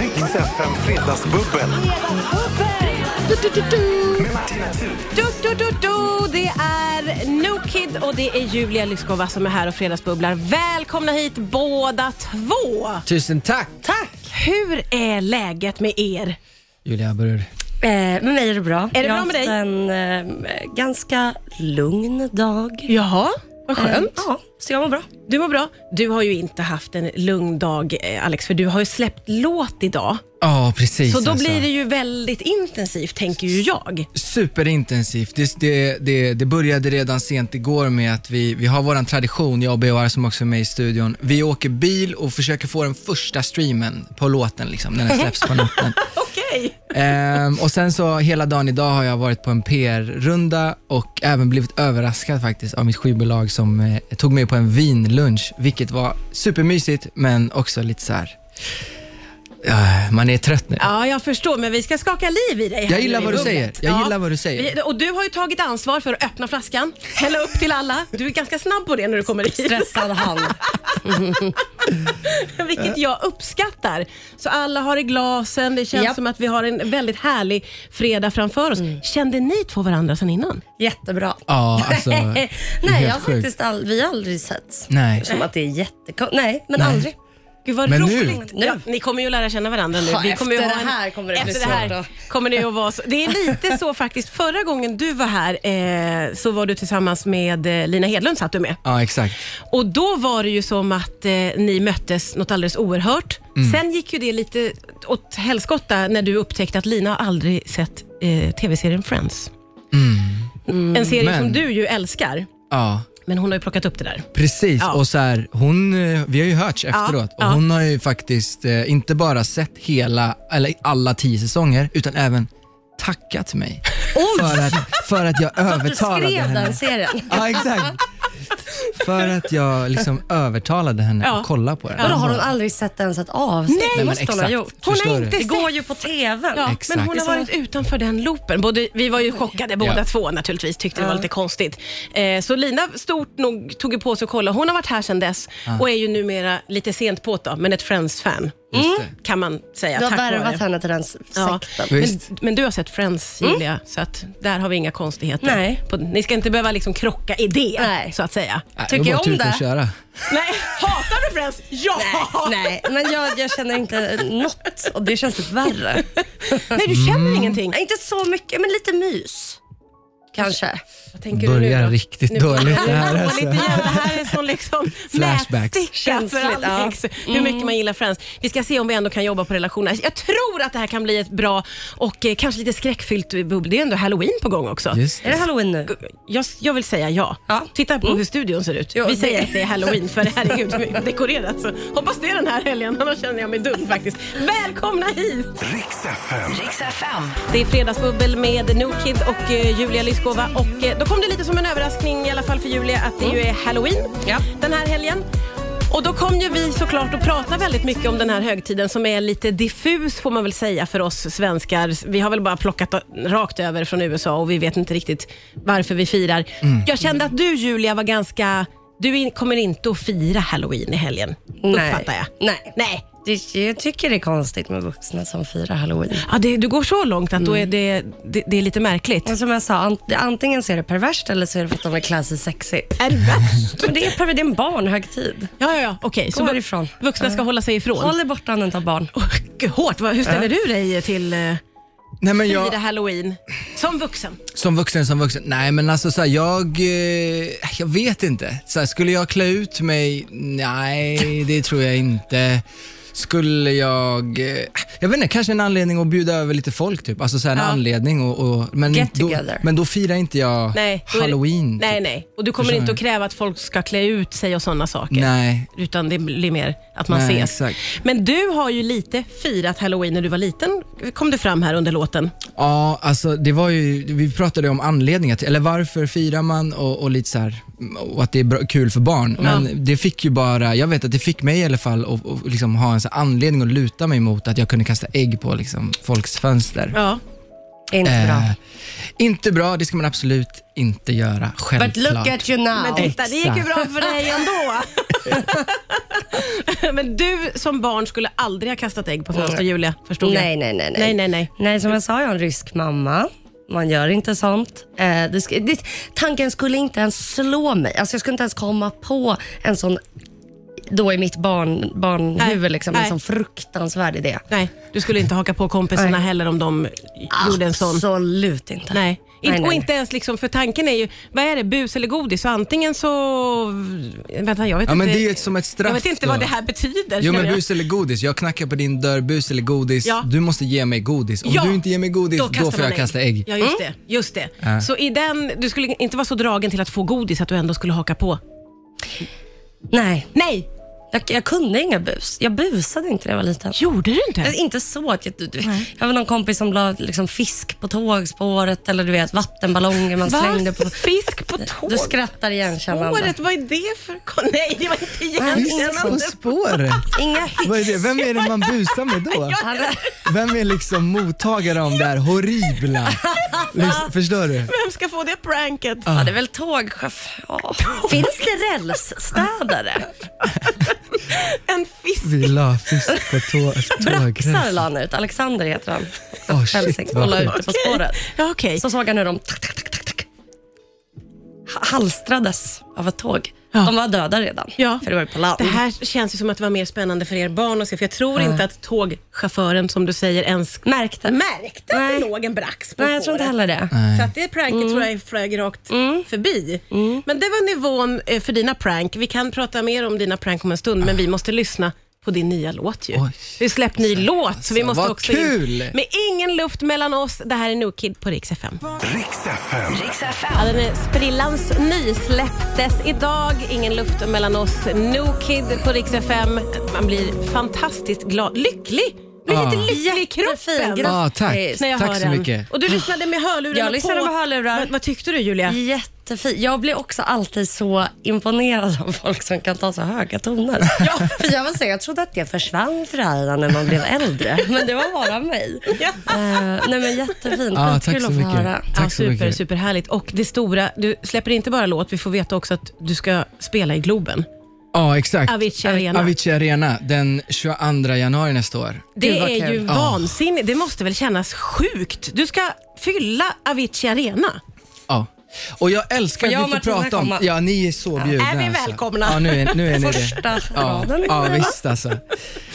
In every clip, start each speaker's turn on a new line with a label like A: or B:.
A: Riks FM Fredagsbubbel med Martina Thun.
B: Du, du, du, du. Det är No Kid och det är Julia Lyskova som är här och fredagsbubblar. Välkomna hit båda två.
C: Tusen tack!
B: Hur är läget med er?
C: Julia Burr.
D: Eh, med mig är det bra.
B: det
D: jag
B: bra
D: har
B: med
D: haft
B: dig?
D: en eh, ganska lugn dag.
B: Jaha, vad
D: Eh, ja, så jag mår bra.
B: Du mår bra. Du har ju inte haft en lugn dag, eh, Alex, för du har ju släppt låt idag.
C: Ja, precis.
B: Så då
C: alltså.
B: blir det ju väldigt intensivt, tänker ju jag.
C: Superintensivt. Det, det, det, det började redan sent igår med att vi, vi har vår tradition, jag och B.O.R. som också är med i studion. Vi åker bil och försöker få den första streamen på låten, liksom, när den släpps på natten.
B: Okej.
C: Ehm, och sen så hela dagen idag har jag varit på en PR-runda och även blivit överraskad faktiskt av mitt skivbolag som eh, tog mig på en vinlunch, vilket var supermysigt men också lite så här. eh, man är trött nu.
B: Ja, jag förstår, men vi ska skaka liv i dig. här
C: Jag gillar
B: nu i
C: vad du
B: bubblet.
C: säger. Jag gillar vad du säger.
B: Vi- Och du har ju tagit ansvar för att öppna flaskan, hälla upp till alla. Du är ganska snabb på det när du kommer hit,
D: Stressad han.
B: vilket jag uppskattar. Så alla har i glasen, det känns
D: Japp. Mm.
B: som att vi har en väldigt härlig fredag framför oss. Kände ni två varandra sedan innan?
D: Jättebra. Eh,
C: Ja, alltså. det är
D: Nej,
C: helt
D: jag har
C: sjukt.
D: faktiskt all, vi har aldrig sett.
C: Nej.
D: Som att det är jättekonstigt. Nej, men
C: Nej.
D: aldrig.
B: Gud vad
C: Men nu-
B: roligt.
D: Nu.
B: Ja, ni kommer ju lära känna varandra nu.
D: Ja,
B: kommer ju
D: efter
B: ha
D: det här kommer det bli
B: efter det här
D: svårt att-
B: kommer det ju att vara så. Det är lite så faktiskt. Förra gången du var här eh, så var du tillsammans med eh, Lina Hedlund satt du med.
C: Ja, exakt.
B: Och då var det ju som att eh, ni möttes något alldeles oerhört.
C: Mm.
B: Sen gick ju det lite åt helskotta när du upptäckte att Lina har aldrig sett eh, tv-serien Friends. En serie som
C: Men-
B: du ju älskar.
C: Mm. Ja,
B: Men hon har ju plockat upp det där.
C: precis.
B: Ja.
C: Och så här, hon, eh, vi har ju hörts efteråt och
B: ja.
C: hon har ju faktiskt eh, inte bara sett hela, eller alla tio säsonger, utan även tackat mig för att, för att jag
D: Du
C: övertalade
D: skrev
C: henne.
D: den serien.
C: Ja, exakt. För att jag liksom övertalade henne
B: Ja.
C: att kolla på den.
D: Vadå, har hon aldrig sett ens ett avsnitt?
B: Nej,
D: det
C: men
D: måste hon ha
C: exakt.
D: gjort.
B: Hon
C: Förstår
B: har
C: du?
B: inte
D: Det
B: sett
D: går ju på TVn.
B: Ja,
C: Exakt.
B: men hon har
D: Så-
B: varit utanför den loopen. Både, vi var ju chockade båda två naturligtvis, tyckte det var lite konstigt. Eh, så Lina stort nog tog ju på sig att kolla. Hon har varit här sedan dess och är ju numera lite sent på då, men ett Friends-fan
D: Mm.
C: Just det.
B: kan man säga.
D: Du har
B: tack vare-
D: värvat henne till den s-
B: Ja.
D: sekten.
B: Men,
D: Mm.
C: Visst.
B: men du har sett Friends, Julia, så att där har vi inga konstigheter.
D: Nej.
B: På, ni ska inte behöva liksom krocka i det,
D: Nej.
B: så att säga.
C: Nej,
D: Tycker
C: det var bara
D: jag om
C: tuta
D: det?
C: att köra.
B: Nej, hatar du Friends? Ja!
D: Nej, men jag, jag känner inte något och det känns typ värre.
B: Nej, du känner ingenting.
D: Nej, inte så mycket, men lite mys. Kanske.
B: Vad tänker du nu
C: Börjar
B: då?
C: riktigt dåligt det här.
B: Dåligt
C: Alltså.
B: igen. Det här är en sån liksom
C: Flashbacks.
B: mätsticka för
D: Känsligt,
B: Alex. Hur mycket man gillar Friends. Vi ska se om vi ändå kan jobba på relationer. Jag tror att det här kan bli ett bra och eh, kanske lite skräckfyllt bubbel. Det är ändå halloween på gång också.
C: Just
D: Är det
C: det.
D: halloween nu?
B: Jag, jag vill säga ja.
D: Ja.
B: Titta på hur studion ser ut.
D: Jo,
B: Vi
D: det-
B: säger att det är halloween för herregud hur mycket dekorerat. Så hoppas det är den här helgen, annars känner jag mig dum faktiskt. Välkomna hit!
A: Riks FM.
B: Det är Fredagsbubbel med No Kid och eh, Julia Lyskova. Och eh, då kom det lite som en överraskning i alla fall för Julia att det ju är Halloween
D: Ja.
B: den här helgen. Och då kom ju vi såklart att prata väldigt mycket om den här högtiden som är lite diffus får man väl säga för oss svenskar. Vi har väl bara plockat rakt över från USA och vi vet inte riktigt varför vi firar. Jag kände att du Julia var ganska, du in, kommer inte att fira halloween i helgen. Uppfattar jag.
D: Nej.
B: Nej.
D: Det, jag tycker det är konstigt med vuxna som firar halloween.
B: Ja, det, du går så långt att då är det, det, det är lite märkligt.
D: Men som jag sa, an- det- antingen så är det perverst eller så är det för att de vill klä sig sexigt.
B: Är det värst?
D: Men det är, perver- det är en barnhögtid.
B: Ja, ja, ja. okej.
D: Gå
B: vu-
D: härifrån.
B: vuxna ska hålla sig ifrån.
D: Håll dig borta om du inte har barn.
B: Åh, gud, hårt, vad- hur ställer du dig till eh,
C: Nej, men jag,
B: fira halloween som vuxen?
C: Som vuxen, som vuxen. Nej men alltså så här, jag, eh, jag vet inte. Så här, skulle jag klä ut mig? Nej, det tror jag inte. Skulle jag, eh, jag vet inte, kanske en anledning att bjuda över lite folk typ. Alltså så här, en anledning och, och men,
D: Get
C: då,
D: together.
C: men då firar inte jag
B: Nej, då är det-
C: halloween. typ.
B: Nej, nej. Och du kommer
C: Förstår
B: inte
C: jag.
B: att kräva att folk ska klä ut sig och sådana saker.
C: Nej,
B: Utan det blir mer att man
C: Nej,
B: ses.
C: exakt.
B: Men du har ju lite firat halloween när du var liten, kom det fram här under låten.
C: Ja, alltså det var ju, vi pratade om anledningar till, eller varför firar man och, och lite så här, och att det är bra, kul för barn. Men det fick ju bara, jag vet att det fick mig i alla fall att att liksom ha en så här anledning att luta mig mot att jag kunde kasta ägg på liksom folks fönster.
B: Ja.
D: Är inte bra.
C: Eh, inte bra, det ska man absolut inte göra.
D: But look
C: Självklart.
D: at you now.
B: Men titta, det gick ju bra för dig ändå. Men du som barn skulle aldrig ha kastat ägg på fönster, Julia. Förstod jag?
D: nej, nej, nej, nej.
B: Nej, nej, nej.
D: Nej, som jag sa, jag är en rysk mamma. Man gör inte sånt. Eh, det sk- det, tanken skulle inte ens slå mig. Alltså, jag skulle inte ens komma på en sån, då i mitt barn, barnhuvud,
B: Nej,
D: liksom, en
B: nej.
D: sån fruktansvärd idé.
B: Nej, du skulle inte haka på kompisarna
D: Nej.
B: heller om de gjorde en sån.
D: Absolut inte.
B: Nej. In-
D: nej,
B: Och
D: nej.
B: inte ens liksom, för tanken är ju, vad är det, bus eller godis? Så antingen så... Vänta, jag vet
C: Ja,
B: inte.
C: men det är ju ett- som ett straff
B: Jag vet inte
C: då.
B: vad det här betyder.
C: Jo men
B: känner jag.
C: bus eller godis, jag knackar på din dörr, bus eller godis.
B: Ja.
C: Du måste ge mig godis. Om
B: Ja,
C: du inte ger mig godis, då,
B: kastar
C: får
B: man
C: jag kasta ägg. Mm.
B: Ja, just det. Just det. Så i den, du skulle inte vara så dragen till att få godis att du ändå skulle haka på.
D: nej.
B: Nej,
D: Jag, jag kunde inga bus. Jag busade inte när jag var liten.
B: gjorde du inte?
D: Eh, Inte så att jag... Du, du, jag var någon kompis som la liksom fisk på tågspåret eller du vet vattenballonger man slängde på...
B: Fisk på tåg?
D: Du skrattar igen Charmander.
B: Året, vad är det för... Nej, det var inte
D: Nej,
B: igen.
D: det är
C: Fisk på
D: sant.
C: spåret?
D: Inga hyss.
C: Vad är det? Vem är det man busar med då?
D: Hade-
C: Vem är liksom mottagare av det här horribla? Lys- Förstår du?
B: Vem ska få det pranket?
D: Ja, det är väl tågchaufför. Ja. Ah. Finns det rälsstädare?
B: En fisk?
C: Vi la fisk på tå-
D: Braxar
C: tågrälsen.
D: la han ut. Alexander heter han.
C: Åh shit
D: Hälsing. Och
C: vad
D: la ut
C: sjukt.
D: det på spåret.
B: Ja, okej.
D: Så såg han hur de tack, tack, tack, tack, tack, ha- halstrades av ett tåg.
B: Ja.
D: De var döda redan,
B: Ja.
D: för det var ju på land.
B: Det här känns ju som att det var mer spännande för er barn att se, för jag tror inte att tågchauffören, som du säger, ens
D: Märkte.
B: märkte att
D: Nej.
B: det låg en brax på
D: Nej, jag tror
B: spåret.
D: inte heller Mm. det.
B: Så att det pranket tror jag flög rakt förbi.
D: Mm.
B: Men det var nivån eh, för dina prank. Vi kan prata mer om dina prank om en stund, men vi måste lyssna på din nya låt ju.
C: Oj.
B: Vi släppte ny
D: Alltså,
B: låt, så vi måste
C: vad
B: också
C: kul!
B: In. Med ingen luft mellan oss. Det här är No Kid på Rix FM.
A: Riks FM.
B: Ja, den är sprillans ny, släpptes idag. Ingen luft mellan oss. No Kid på Rix FM. Man blir fantastiskt glad, lycklig. Blir
C: Ja.
B: lite lycklig i
D: Jättefin.
B: kroppen.
D: Grattis.
C: Ah, tack,
B: När jag
C: tack
B: hör
C: så
B: den.
C: mycket.
B: Och du lyssnade med hörlurarna
D: Jag lyssnade
B: på.
D: med hörlurar.
B: Vad, vad tyckte du Julia?
D: Jättefint. Jag blir också alltid så imponerad av folk som kan ta så höga toner. För jag, vill säga, jag trodde att det försvann för alla när man blev äldre, men det var bara mig.
B: Ja.
D: Eh, nej men jättefint.
C: Ja, tack
D: Skitkul
C: så
D: att få
C: mycket.
D: höra.
B: ja,
C: Tack så
B: super,
C: mycket.
B: superhärligt. Och det stora, du släpper inte bara låt, vi får veta också att du ska spela i Globen.
C: Ja exakt.
B: Avicii Arena.
C: Avicii Arena den 22 januari nästa år.
B: Det
D: Gud, vad
B: är
D: kul.
B: ju
C: Ja.
B: vansinnigt. Det måste väl kännas sjukt? Du ska fylla Avicii Arena.
C: Ja. Och jag älskar
D: Får jag
C: att
D: och
C: vi får
D: Martina
C: prata om...
D: komma?
C: Ja, ni är så bjudna.
B: Är Äh, vi
C: alltså.
B: välkomna?
C: Ja, nu är, nu är ni det.
D: Första
C: Ja,
D: raden.
C: ja visst alltså.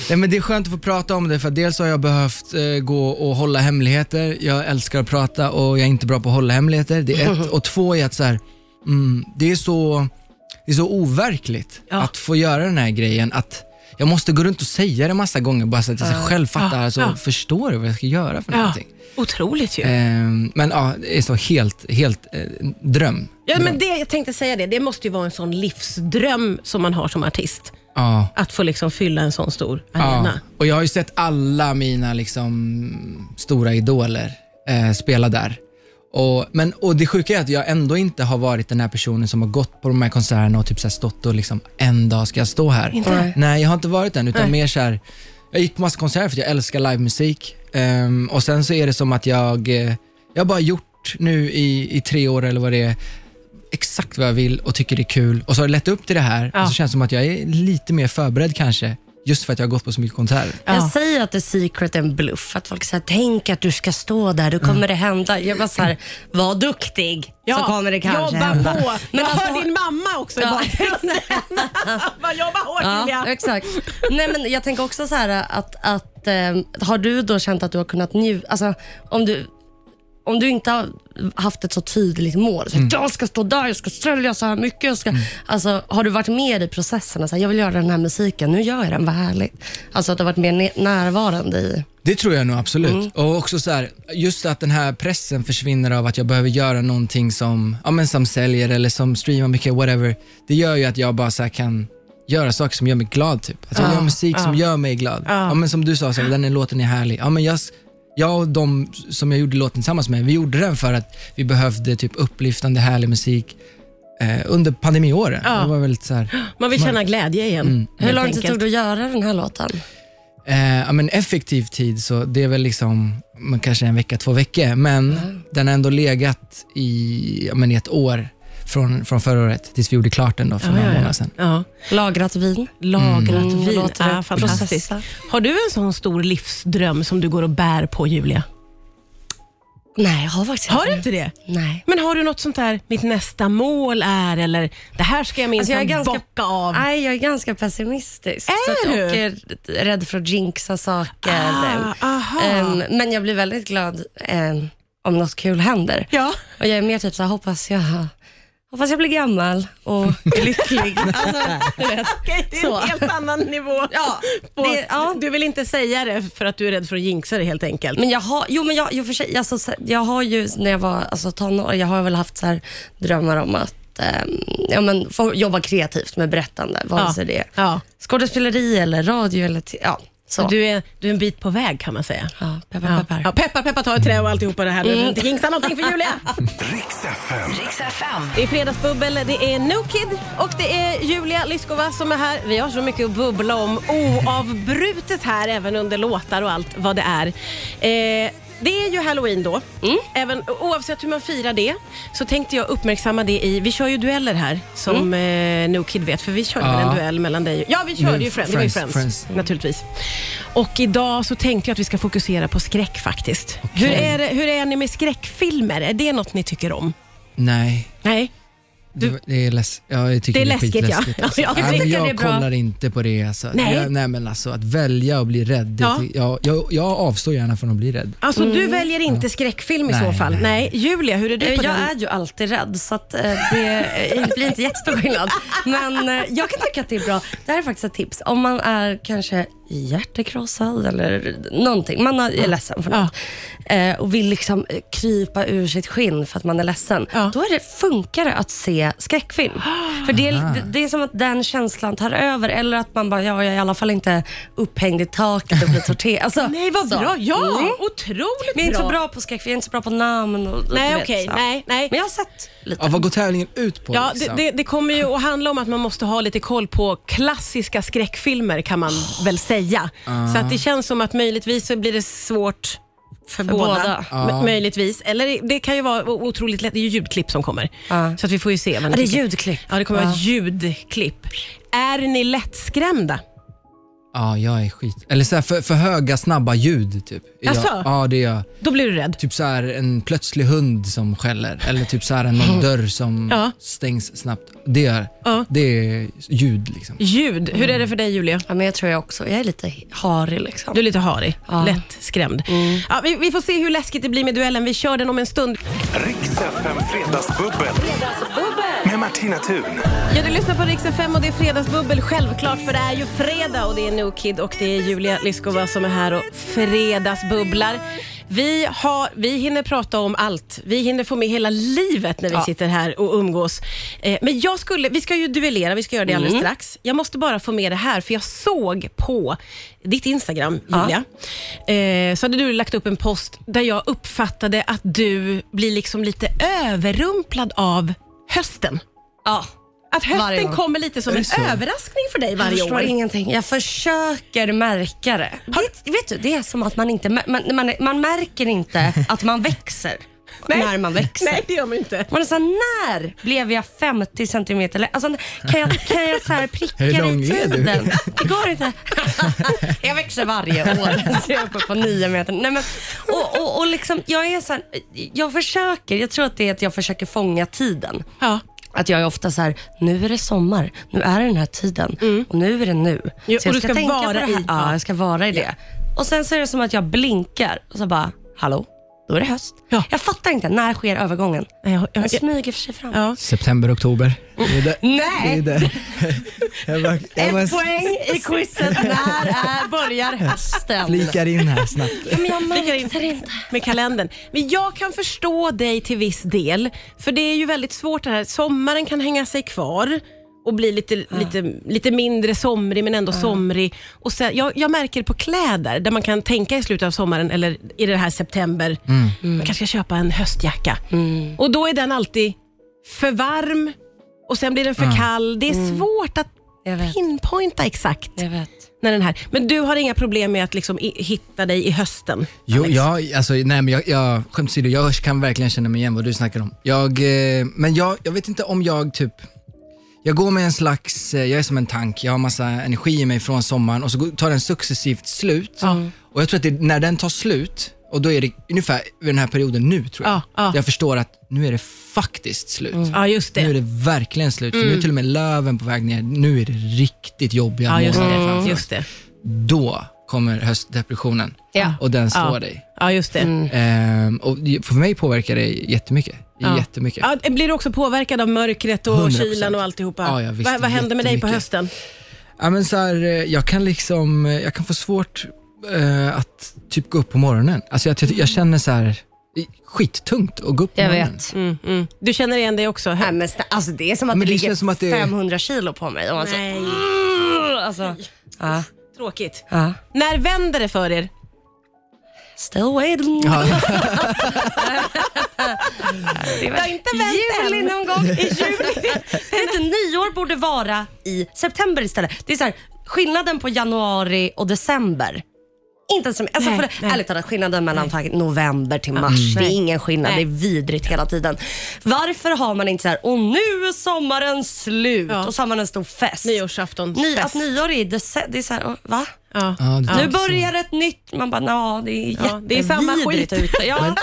C: Nej, men det är skönt att få prata om det för dels har jag behövt eh, gå och hålla hemligheter. Jag älskar att prata och jag är inte bra på att hålla hemligheter. Det är ett. Och två är att så här, mm, det, är så, det är så overkligt
B: Ja.
C: att få göra den här grejen. Att jag måste gå runt och säga det massa gånger bara så att jag ska själv fattar,
B: Ja,
C: alltså,
B: ja.
C: förstår vad jag ska göra för
B: Ja.
C: någonting.
B: Otroligt ju.
C: Ehm, men ja, det är så helt, helt eh, dröm.
B: Ja, men det, jag tänkte säga det, det måste ju vara en sån livsdröm som man har som artist.
C: Ja.
B: Att få liksom fylla en sån stor
C: Ja,
B: arena.
C: och jag har ju sett alla mina liksom, stora idoler eh, spela där. Och, men, och det sjuka är att jag ändå inte har varit den här personen som har gått på de här konserterna och typ så här stått och liksom, en dag ska jag stå här.
B: Inte?
C: Nej, jag har inte varit den, utan
B: Nej.
C: mer så här, jag gick på massa konserter för att jag älskar livemusik. Ehm, och sen så är det som att jag, eh, jag har bara gjort nu i, i tre år eller vad det är, exakt vad jag vill och tycker det är kul. Och så har det lett upp till det här
B: Ja.
C: och så känns det som att jag är lite mer förberedd kanske, just för att jag har gått på så mycket konserter.
B: Ja.
D: Jag säger att The Secret är en bluff. Att folk säger tänk att du ska stå där, då
C: Mm.
D: kommer det hända. Jag bara så här, var duktig så kommer det kanske
B: jobba
D: hända.
B: på.
D: Men
B: jag
D: alltså-
B: hör din mamma också i
D: Ja.
B: bakgrunden. Bara jobba hårt
D: Ja,
B: Julia.
D: exakt. Nej, men jag tänker också så här att, att ehm, har du då känt att du har kunnat njuta, alltså om du om du inte har haft ett så tydligt mål, så här, jag ska stå där, jag ska sälja så här mycket. Jag ska, alltså, har du varit med i processerna? Så här, jag vill göra den här musiken, nu gör jag den, vad härligt. Alltså att du har varit mer ne- närvarande i...
C: Det tror jag nog absolut. Och också så här, just att den här pressen försvinner av att jag behöver göra någonting som, ja, men som säljer eller som streamar mycket, whatever. Det gör ju att jag bara så här kan göra saker som gör mig glad. Typ. Att jag gör musik som gör mig glad. Ja, men som du sa, så här, den här låten är härlig. Ja, men jag, s- jag och de som jag gjorde låten tillsammans med, vi gjorde den för att vi behövde typ upplyftande, härlig musik eh, under pandemiåren. Det var väldigt så här,
B: Man vill känna glädje igen.
D: Mm. Hur
B: helt
D: lång tid
B: enkelt.
D: tog det att göra den här låten?
C: Eh, ja, men effektiv tid, så det är väl liksom men kanske en vecka, två veckor. Men
B: Mm.
C: den har ändå legat i, ja, men i ett år från, från förra året tills vi gjorde klart den då för några månader sedan.
B: Ja.
D: Lagrat vin.
B: Lagrat
D: Mm,
B: vin.
D: låter det
B: ah, fantastiskt.
D: processa.
B: Har du en sån stor livsdröm som du går och bär på, Julia?
D: Nej, jag har faktiskt
B: Har du inte det?
D: Nej.
B: Men har du något sånt där, mitt nästa mål är, eller det här ska jag
D: Alltså,
B: minsann bocka av?
D: Nej, jag är ganska pessimistisk.
B: Är
D: så att,
B: du?
D: Och är rädd för att jinxa saker.
B: Ah, aha.
D: Ehm, men jag blir väldigt glad ehm, om något kul händer.
B: Ja.
D: Och jag är mer typ så här, hoppas jag, hoppas jag blir gammal och lycklig. alltså, du vet.
B: Okej, det är
D: Så.
B: en helt annan nivå.
D: Ja,
B: På,
D: det- ja.
B: Du vill inte säga det för att du är rädd för att jinxa det helt enkelt.
D: Men jag har, jo men jag, jag, för sig, alltså, så- jag har ju när jag var alltså, tonåring, jag har väl haft så här, drömmar om att ehm, ja, men, få jobba kreativt med berättande, vare
B: Ja.
D: sig det är
B: Ja.
D: skådespeleri eller radio eller t- ja, så.
B: Du, är, du är en bit på väg kan man säga.
D: ja, peppar,
B: Ja.
D: peppar.
B: Ja, peppa, peppa, ta ett trä och alltihopa det här. Mm. Inte jinxa någonting för Julia.
A: Riks FM.
E: Riks FM.
B: Det är Fredagsbubbel, det är No Kid och det är Julia Lyskova som är här. Vi har så mycket att bubbla om oavbrutet här, även under låtar och allt vad det är. Eh, det är ju halloween då.
C: Mm.
B: Även, oavsett hur man firar det så tänkte jag uppmärksamma det i... Vi kör ju dueller här, som eh, No Kid vet, för vi körde
C: Mm. Ja.
B: väl en duell mellan dig och... Ja, vi körde
C: Nu,
B: ju Friends. Det var ju Friends,
C: Friends, Friends. Mm.
B: naturligtvis. Och idag så tänkte jag att vi ska fokusera på skräck faktiskt. Hur, är det, hur är ni med skräckfilmer? Är det något ni tycker om?
C: Nej,
B: Nej.
C: det, det är, läs- ja, jag tycker
B: Det är
C: det är
B: läskigt, ja.
C: skitläskigt. Alltså.
B: Ja, jag
C: Nej, men
B: tycker
C: jag
B: det är bra.
C: kollar inte på det. Alltså.
B: Nej.
C: Jag, nej, men alltså, att välja och bli rädd, det,
B: Ja.
C: ty- jag, jag, jag avstår gärna från att bli rädd.
B: Alltså du
D: Mm.
B: väljer inte skräckfilm i
C: Nej,
B: så fall? Nej.
C: nej.
B: Julia, hur är du på
D: Eh, Jag
B: den?
D: är ju alltid rädd, så att, eh, det eh, blir inte jättestor skillnad. Men eh, jag kan tycka att det är bra. Det här är faktiskt ett tips. Om man är kanske hjärtekrossad eller någonting, man har- är ledsen för något eh, och vill liksom eh, krypa ur sitt skinn för att man är ledsen.
B: Ja.
D: Då är det, funkar det att se skräckfilm. För det,
B: Ah.
D: är- det, det är som att den känslan tar över eller att man bara, ja, jag är i alla fall inte upphängd i taket och blir torterad. Alltså,
B: Nej, vad
D: så.
B: bra! Ja,
D: Mm.
B: otroligt
D: Men jag är inte
B: bra.
D: så bra på skräckfilm, jag är inte så bra på namn och du
B: Nej,
D: vet,
B: okej.
D: så.
B: Nej, nej.
D: Men jag har sett lite.
C: Ja, vad går tävlingen ut på?
B: Ja, det,
C: liksom?
B: det, det kommer ju att handla om att man måste ha lite koll på klassiska skräckfilmer kan man
D: Ah.
B: väl säga. Så att det känns som att möjligtvis så blir det svårt för, båda.
D: båda. Ah.
B: M- Möjligtvis. Eller det kan ju vara o- otroligt lätt. Det är ju ljudklipp som kommer.
D: Ja.
B: Så att vi får ju se. Vad ni
D: Ah. Ja, det är Ah.
B: tycker.
D: ljudklipp.
B: Ja, det kommer
D: Ja.
B: vara ljudklipp. Är ni lättskrämda?
C: Ja, jag är skit... Eller så här, för, för höga, snabba ljud. Typ. Jag-
B: Jaså?
C: Ja, det är jag.
B: Då blir du rädd.
C: Typ så här en plötslig hund som skäller eller typ så här en någon dörr som
B: Ja.
C: stängs snabbt. Det är,
B: Ja.
C: det är ljud liksom.
B: Ljud. Hur är det för dig Julia?
D: Ja, men jag tror jag också. Jag är lite harig liksom.
B: Du är lite harig,
D: Ja. Mm.
B: lätt skrämd. Ja, vi, vi får se hur läskigt det blir med duellen. Vi kör den om en stund.
A: Riks FM Fredagsbubbel. Med Martina Thun.
B: Ja, du lyssnar på Rix FM och det är fredagsbubbel självklart för det är ju fredag och det är No Kid och det är Julia Lyskova som är här och fredagsbubblar. Vi, har, vi hinner prata om allt. Vi hinner få med hela livet när vi sitter här och umgås. Eh, men jag skulle, vi ska ju duellera, vi ska göra det alldeles strax. Jag måste bara få med det här för jag såg på ditt Instagram, Julia, eh, så hade du lagt upp en post där jag uppfattade att du blir liksom lite överrumplad av hösten.
D: Ja.
B: Att
D: Varje
B: hösten
D: år.
B: kommer lite som
C: Är
B: en
C: det så?
B: överraskning för dig
D: Jag
B: varje
D: förstår
B: år.
D: ingenting. Jag försöker märka det. det. Vet du, det är som att man inte... Man, man, man märker inte att man växer när man växer.
B: Nej, det gör man inte.
D: Man är så här, när blev jag 50 centimeter lä- alltså, Kan jag, kan jag så här pricka
C: Hur
D: det
C: lång
D: i
C: är du?
D: tiden? Det går inte. jag växer varje år, så jag är uppe på nio meter. Nej, men, och, och, och liksom, jag är så här, jag försöker, jag tror att det är att jag försöker fånga tiden.
B: Ja.
D: Att jag är ofta så här, nu är det sommar, nu är det den här tiden och nu är det nu.
B: Mm. Jo,
D: så jag
B: och du ska
D: tänka
B: vara
D: på det här.
B: i-
D: Ja, jag ska vara i det. Och sen så är det som att jag blinkar och så bara, hallå, då är det höst.
B: Ja.
D: Jag fattar inte, när sker övergången?
B: Nej, jag,
D: Den
B: jag, jag,
D: smyger för sig fram.
B: ja.
C: September, oktober. Det är där.
D: Nej!
C: Det är där. Jag bara, jag bara
D: Ett poäng i quizet. När är, börjar hösten?
C: flikar in här snabbt.
D: Men jag
B: Flikar in.
D: märkte inte.
B: Med kalendern. Men jag kan förstå dig till viss del, för det är ju väldigt svårt det här. Sommaren kan hänga sig kvar och bli lite, lite, lite mindre somrig men ändå somrig. Och sen, jag, jag märker på kläder, där man kan tänka i slutet av sommaren eller i det här september, man kanske ska köpa en höstjacka. Och då är den alltid för varm och sen blir den för kall. Det är svårt att
D: Jag vet.
B: pinpointa exakt
D: Jag vet.
B: när den här... Men du har inga problem med att liksom i, hitta dig i hösten?
C: Jo,
B: Alex?
C: jag, alltså, nej, men jag, jag, skämt åsido, jag kan verkligen känna mig igen vad du snackar om. Jag, eh, men jag, jag vet inte om jag typ, jag går med en slags, eh, jag är som en tank, jag har massa energi i mig från sommaren och så går- tar den successivt slut. Och jag tror att det, när den tar slut, och då är det ungefär vid den här perioden nu tror jag,
B: Ja, ja. Mm.
C: jag förstår att nu är det faktiskt slut.
B: Ja, just
C: Nu är
B: det. Mm.
C: det verkligen slut, för nu är till och med löven på väg ner. Nu är det riktigt jobbiga
B: Ja, just
C: månader
B: det. Mm.
C: framför
B: Just det.
C: Då kommer höstdepressionen
D: Ja.
C: och den slår
B: Ja.
C: dig.
B: Ja, just det.
C: Ehm, och för mig påverkar det jättemycket.
B: Ja.
C: Jättemycket.
B: Ja, blir du också påverkad av mörkret och
C: 100%.
B: kylan och alltihopa?
C: Ja, ja, visst,
B: vad, vad händer med dig på
C: jättemycket.
B: hösten?
C: Ja, men så här, eh, jag kan liksom, eh, jag kan få svårt eh, att typ gå upp på morgonen. Alltså jag, jag, jag känner så här, i- skittungt att gå upp på
D: Jag
C: morgonen.
D: vet.
B: Mm, mm. Du känner igen dig också?
D: Nej, men sta- alltså, det är som att
C: Men
D: det,
C: det
D: ligger
C: känns som att det-
D: 500 kilo på mig. Och man så,
B: Nej,
D: alltså, ja,
B: tråkigt.
D: ja.
B: När vänder det för er?
D: Still waiting.
C: Ja,
D: Det
B: har inte vänt
D: juli
B: än.
D: någon gång. I juli. Vet du, nyår borde vara i september istället. Det är så här, skillnaden på januari och december. Inte ens, alltså
B: Nej,
D: för,
B: nej.
D: Ärligt talat, skillnaden mellan fan, november till mars, det är
B: Nej.
D: ingen skillnad.
B: Nej.
D: Det är vidrigt hela tiden. Varför har man inte så här, och nu är sommaren slut
B: Ja.
D: och så har man en stor fest.
B: Nyårsafton?
D: Ny,
B: fest.
D: att nyår är i december, det är så här, och, va?
B: Ja.
C: ja, det
D: Nu
C: tänker jag.
D: börjar ett nytt, man bara, ja det är
B: Ja, det är samma
D: jättevidrigt
B: skit."
D: ute. Ja.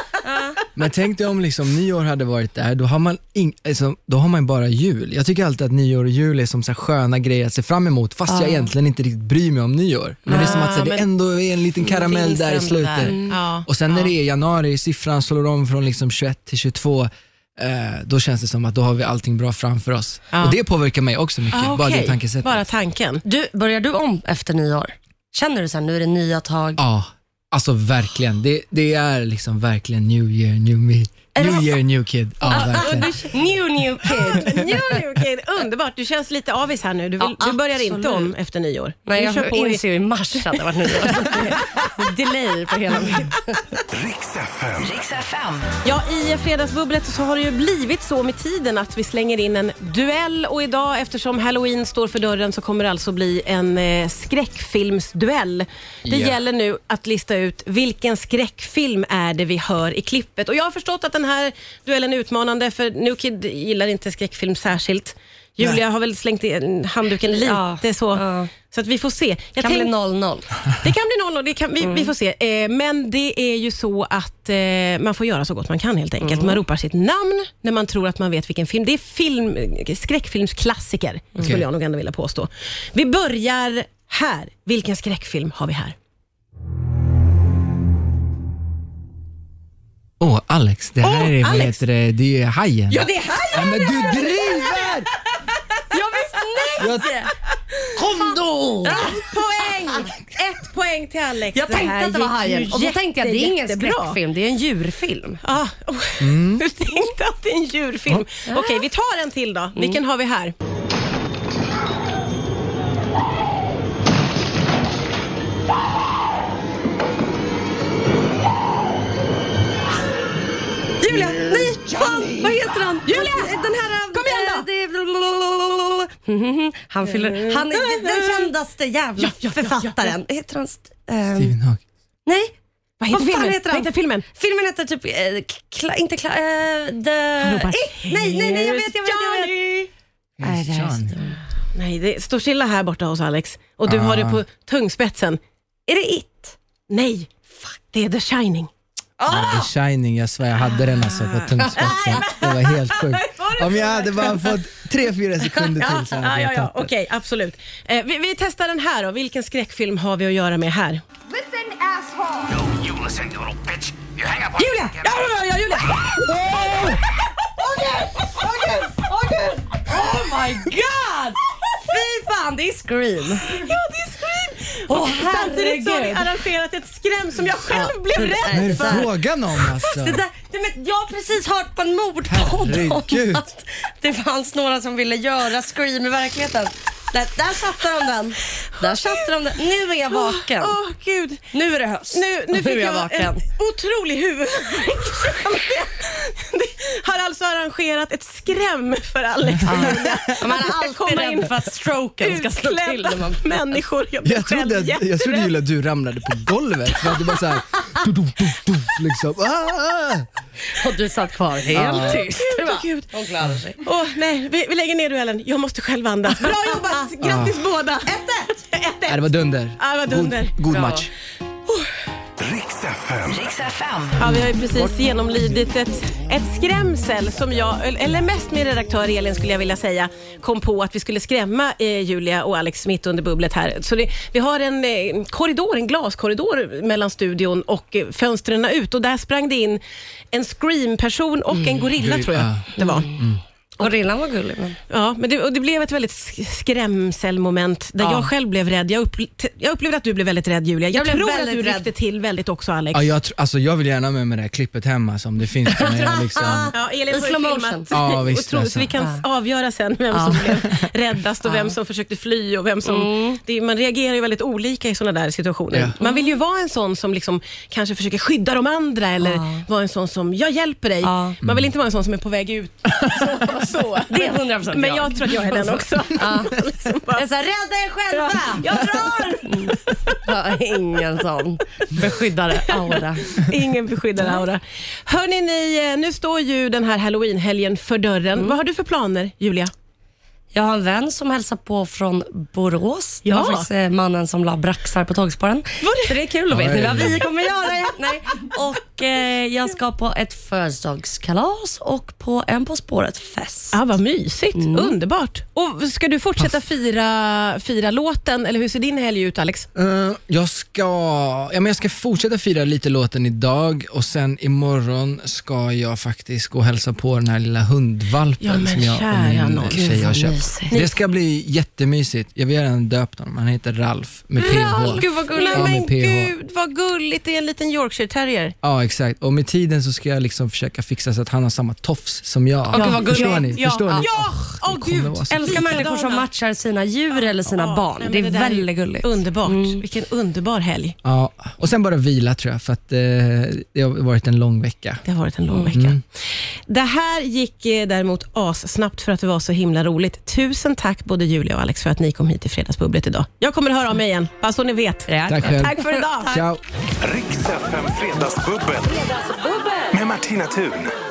C: Men tänk dig om liksom nyår hade varit där, då har man, ing, alltså, då har man bara jul. Jag tycker alltid att nyår och jul är som så här sköna grejer att se fram emot, fast jag egentligen inte riktigt bryr mig om nyår. Men det är som att så här, det
B: men-
C: ändå är en liten karamell
B: finns
C: där i
B: ändå
C: slutet.
B: där. Mm. Ja,
C: Och sen när det är januari, siffran slår om från liksom 21 till 22, eh, då känns det som att då har vi allting bra framför oss.
B: Ja.
C: Och det påverkar mig också mycket,
B: Ah,
C: bara det
B: okej.
C: tankesättet.
B: Bara tanken.
D: Du, börjar du om efter nyår? Känner du så här, nu är det nya tag?
C: Ja, alltså verkligen. Det, det är liksom verkligen new year, new me. New year, new kid.
B: Ah,
C: Ja, verkligen.
D: Ah, New, new kid.
B: Jo, jo, okej. Underbart. Du känns lite avis här nu. Du, vill,
D: Ja,
B: du börjar inte
D: absolut.
B: om efter nyår.
D: Nej,
B: du
D: jag
B: kör på i-
D: inser ju i mars att det var nyår. Delay på hela mitt.
A: Riks FM.
E: Riks FM.
B: Ja, i Fredagsbubblet så har det ju blivit så med tiden att vi slänger in en duell och idag eftersom halloween står för dörren så kommer det alltså bli en eh, skräckfilmsduell. Det
C: Ja.
B: gäller nu att lista ut vilken skräckfilm är det vi hör i klippet och jag har förstått att den här duellen är utmanande för Nukid gillar inte skräckfilm särskilt. Julia
C: Nej.
B: har väl slängt in handduken lite
D: Ja,
B: så.
D: ja.
B: Så att vi får se. Jag
D: kan bli
B: tänk-
D: 0-0.
B: det kan bli noll och det kan, vi,
C: Mm.
B: vi får se. Eh, men det är ju så att eh, man får göra så gott man kan helt enkelt.
C: Mm.
B: Man ropar sitt namn när man tror att man vet vilken film. Det är film, skräckfilmsklassiker skulle
C: Okej.
B: jag nog ändå vilja påstå. Vi börjar här. Vilken skräckfilm har vi här?
C: Åh, Alex, det här
B: Åh,
C: är, vad
B: Alex.
C: heter det, det är hajen.
B: det är här!
C: Nej, men du driver!
D: Jag visste
C: Jag- Kom då!
B: Ett poäng! Ett poäng till Alex.
D: Jag tänkte
B: här
D: att det var
B: gick ju
D: hajen och då tänkte jag det är ingen
B: jättebra.
D: skräckfilm, Mm. det är en djurfilm.
B: Ah, oh, Du tänkte att det är en djurfilm. Okej, vi tar en till då.
D: Mm.
B: Vilken har vi här?
D: Julia, nej! Fan, vad heter han? Alltså,
B: Julia!
D: Den här...
B: Kom igen då!
D: eh, det är- Mhm, Han fyller... Han är den kändaste jävla
B: Ja, ja, ja,
D: författaren. Heter han... st- ehm,
C: Steven Hawk.
D: nej,
B: Vad heter
D: Vad fan
B: filmen?
D: heter han?
B: Vad heter filmen?
D: Filmen heter typ, eh, kla, inte kla, eh, the...
B: ropar,
D: Eh, nej, nej, nej, jag vet, jag vet, jag vet. Nej, det är,
C: John.
B: Nej, det står stilla här borta hos Alex. Och du
C: Ah.
B: har det på tungspetsen.
D: är det It?
B: Nej, fuck, det är The Shining.
C: Ja, The Shining, jag svär jag hade den alltså på tungspetsen. Det var helt sjukt. Om jag hade bara fått tre, fyra sekunder till så
B: Ja,
C: hade
B: ja,
C: jag
B: ja,
C: tagit det.
B: okej, absolut. Eh, vi, vi testar den här då. Vilken skräckfilm har vi att göra med här?
F: Listen, asshole.
G: You listen, you little bitch. You hang up on
B: Julia! Ja, ja, ja, Julia! Oh
D: Fy fan, det är Scream.
B: Ja, det är Scream!
D: Åh
B: Samtidigt så har vi
D: herregud.
B: arrangerat ett skräm som jag själv
D: Ja,
B: blev
D: det-
B: rädd
C: Vad är det
D: Där.
C: frågan om alltså?
D: Det där, du vet, jag har precis hört på en mordpodd om
C: Herregud.
D: att det fanns några som ville göra Scream i verkligheten. Där, där satte de den. Där satte de den. Nu är jag vaken.
B: Åh, gud.
D: Nu är det höst.
B: Nu, nu
D: Och
B: fick
D: är
B: jag,
D: jag vaken.
B: en otrolig huvudvärk. har alltså arrangerat ett skräm för Alex.
D: Ah. Man
B: Att det ska
D: är alltid
B: komma in
D: rädd för att stroken ska slå till. När
B: Utklädda
D: man...
B: människor. Jag blev
C: Jag trodde,
B: själv
C: att, jag trodde
B: jätterädd.
C: Julia, att du ramlade på golvet. För att du bara såhär... Liksom. Ah!
D: Och du satt kvar helt tyst.
B: Gud,
D: Du bara,
B: gud.
D: Hon klarar sig.
B: Åh, nej, vi, vi lägger ner duellen. Jag måste själv andas. Bra jobbat!
D: Ah.
B: Grattis båda! 1-1! 1-1.
C: Nej, det var dunder.
B: Ja, det var dunder.
C: God, god match.
A: Riks FM.
E: Riks FM.
B: Ja, vi har ju precis genomlidit ett, ett skrämsel som jag, eller mest min redaktör Elin skulle jag vilja säga, kom på att vi skulle skrämma eh, Julia och Alex mitt under bubblet här. Så det, vi har en eh, korridor, en glaskorridor mellan studion och eh, fönstren ut och där sprang det in en scream-person och
D: Mm.
B: en gorilla
C: Gorilla.
B: tror
D: ah.
B: jag det var.
D: Gorillan var gullig. Men...
B: Ja, men det, och det blev ett väldigt sk- skrämselmoment där
D: Ja.
B: jag själv blev rädd. Jag, upple- t- jag upplevde att du blev väldigt rädd Julia. Jag,
D: Jag blev
B: tror att
D: väldigt
B: du
D: rädd.
B: ryckte till väldigt också Alex.
C: Ja, jag, tr- alltså, jag vill gärna ha med mig det här klippet hemma som det finns på mig. Liksom.
B: Ja, Elin
D: I
B: har ju
D: slow
B: filmat.
D: motion.
C: Ja, visst,
B: Otroligt,
C: alltså.
B: så vi kan s- avgöra sen vem som blev räddast och vem som försökte fly. Och vem som,
D: Mm.
B: det, man reagerar ju väldigt olika i sådana där situationer.
C: Ja.
B: Man vill ju vara en sån som liksom kanske försöker skydda de andra eller vara en sån som, jag hjälper dig.
D: Ja.
B: Man vill inte vara en sån som är på väg ut. Så, så.
D: Det är 100%
B: Men
D: jag.
B: jag tror att jag är den också. Liksom bara-
D: Jag sa, rädda er själva!
B: Jag drar!
D: Ja, ingen sån beskyddare aura.
B: Ingen beskyddar Aura. Hörni, ni, eh, nu står ju den här halloweenhelgen för dörren.
D: Mm.
B: Vad har du för planer, Julia?
D: Jag har en vän som hälsar på från Borås. Det var
B: Ja.
D: faktiskt eh, mannen som la braxar på tågspåren. Så det är kul att veta
C: Oj.
D: vad vi kommer göra. Nej. Och eh, jag ska på ett födelsedagskalas och på en På spåret-fest.
B: Ja, Ah, vad mysigt. Underbart. Och Ska du fortsätta fira, fira låten, eller hur ser din helg ut, Alex?
C: Eh, jag, ska, ja, men jag ska fortsätta fira lite låten idag och sen imorgon ska jag faktiskt gå och hälsa på den här lilla hundvalpen
B: Ja, men
C: som jag
B: kära
C: och min
B: nån.
C: tjej har
D: vad
C: köpt.
D: mysigt.
C: Det ska bli jättemysigt. Jag vill redan döpt honom. Han heter Ralf med PH.
B: Gud, vad gulligt.
C: Ja,
B: Nej, men
C: med PH.
B: gud, vad gulligt. Det är en liten Yorkshire terrier.
C: Ja, exakt. Och med tiden så ska jag liksom försöka fixa så att han har samma tofs som jag.
D: gud, vad gulligt.
C: Förstår ni?
B: Ja,
C: Förstår ni?
B: ja. Åh, gud.
C: kommer vara så-
D: Älskar människor som
B: Likadana.
D: matchar sina djur eller sina barn.
B: Nej, men
D: det
B: där
D: är väldigt gulligt.
B: Underbart. Mm. Vilken underbar helg.
C: Ja, och sen bara vila tror jag, för att eh, det har varit en lång vecka.
B: Det har varit en lång vecka. Det här gick eh, däremot assnabbt för att det var så himla roligt. Tusen tack både Julia och Alex för att ni kom hit till Fredagsbubblet idag. Jag kommer höra av mig igen, bara så ni vet.
C: Tack själv.
B: Tack för idag.
C: Ciao.
A: Riks FM Fredagsbubbel. Med Martina Thun.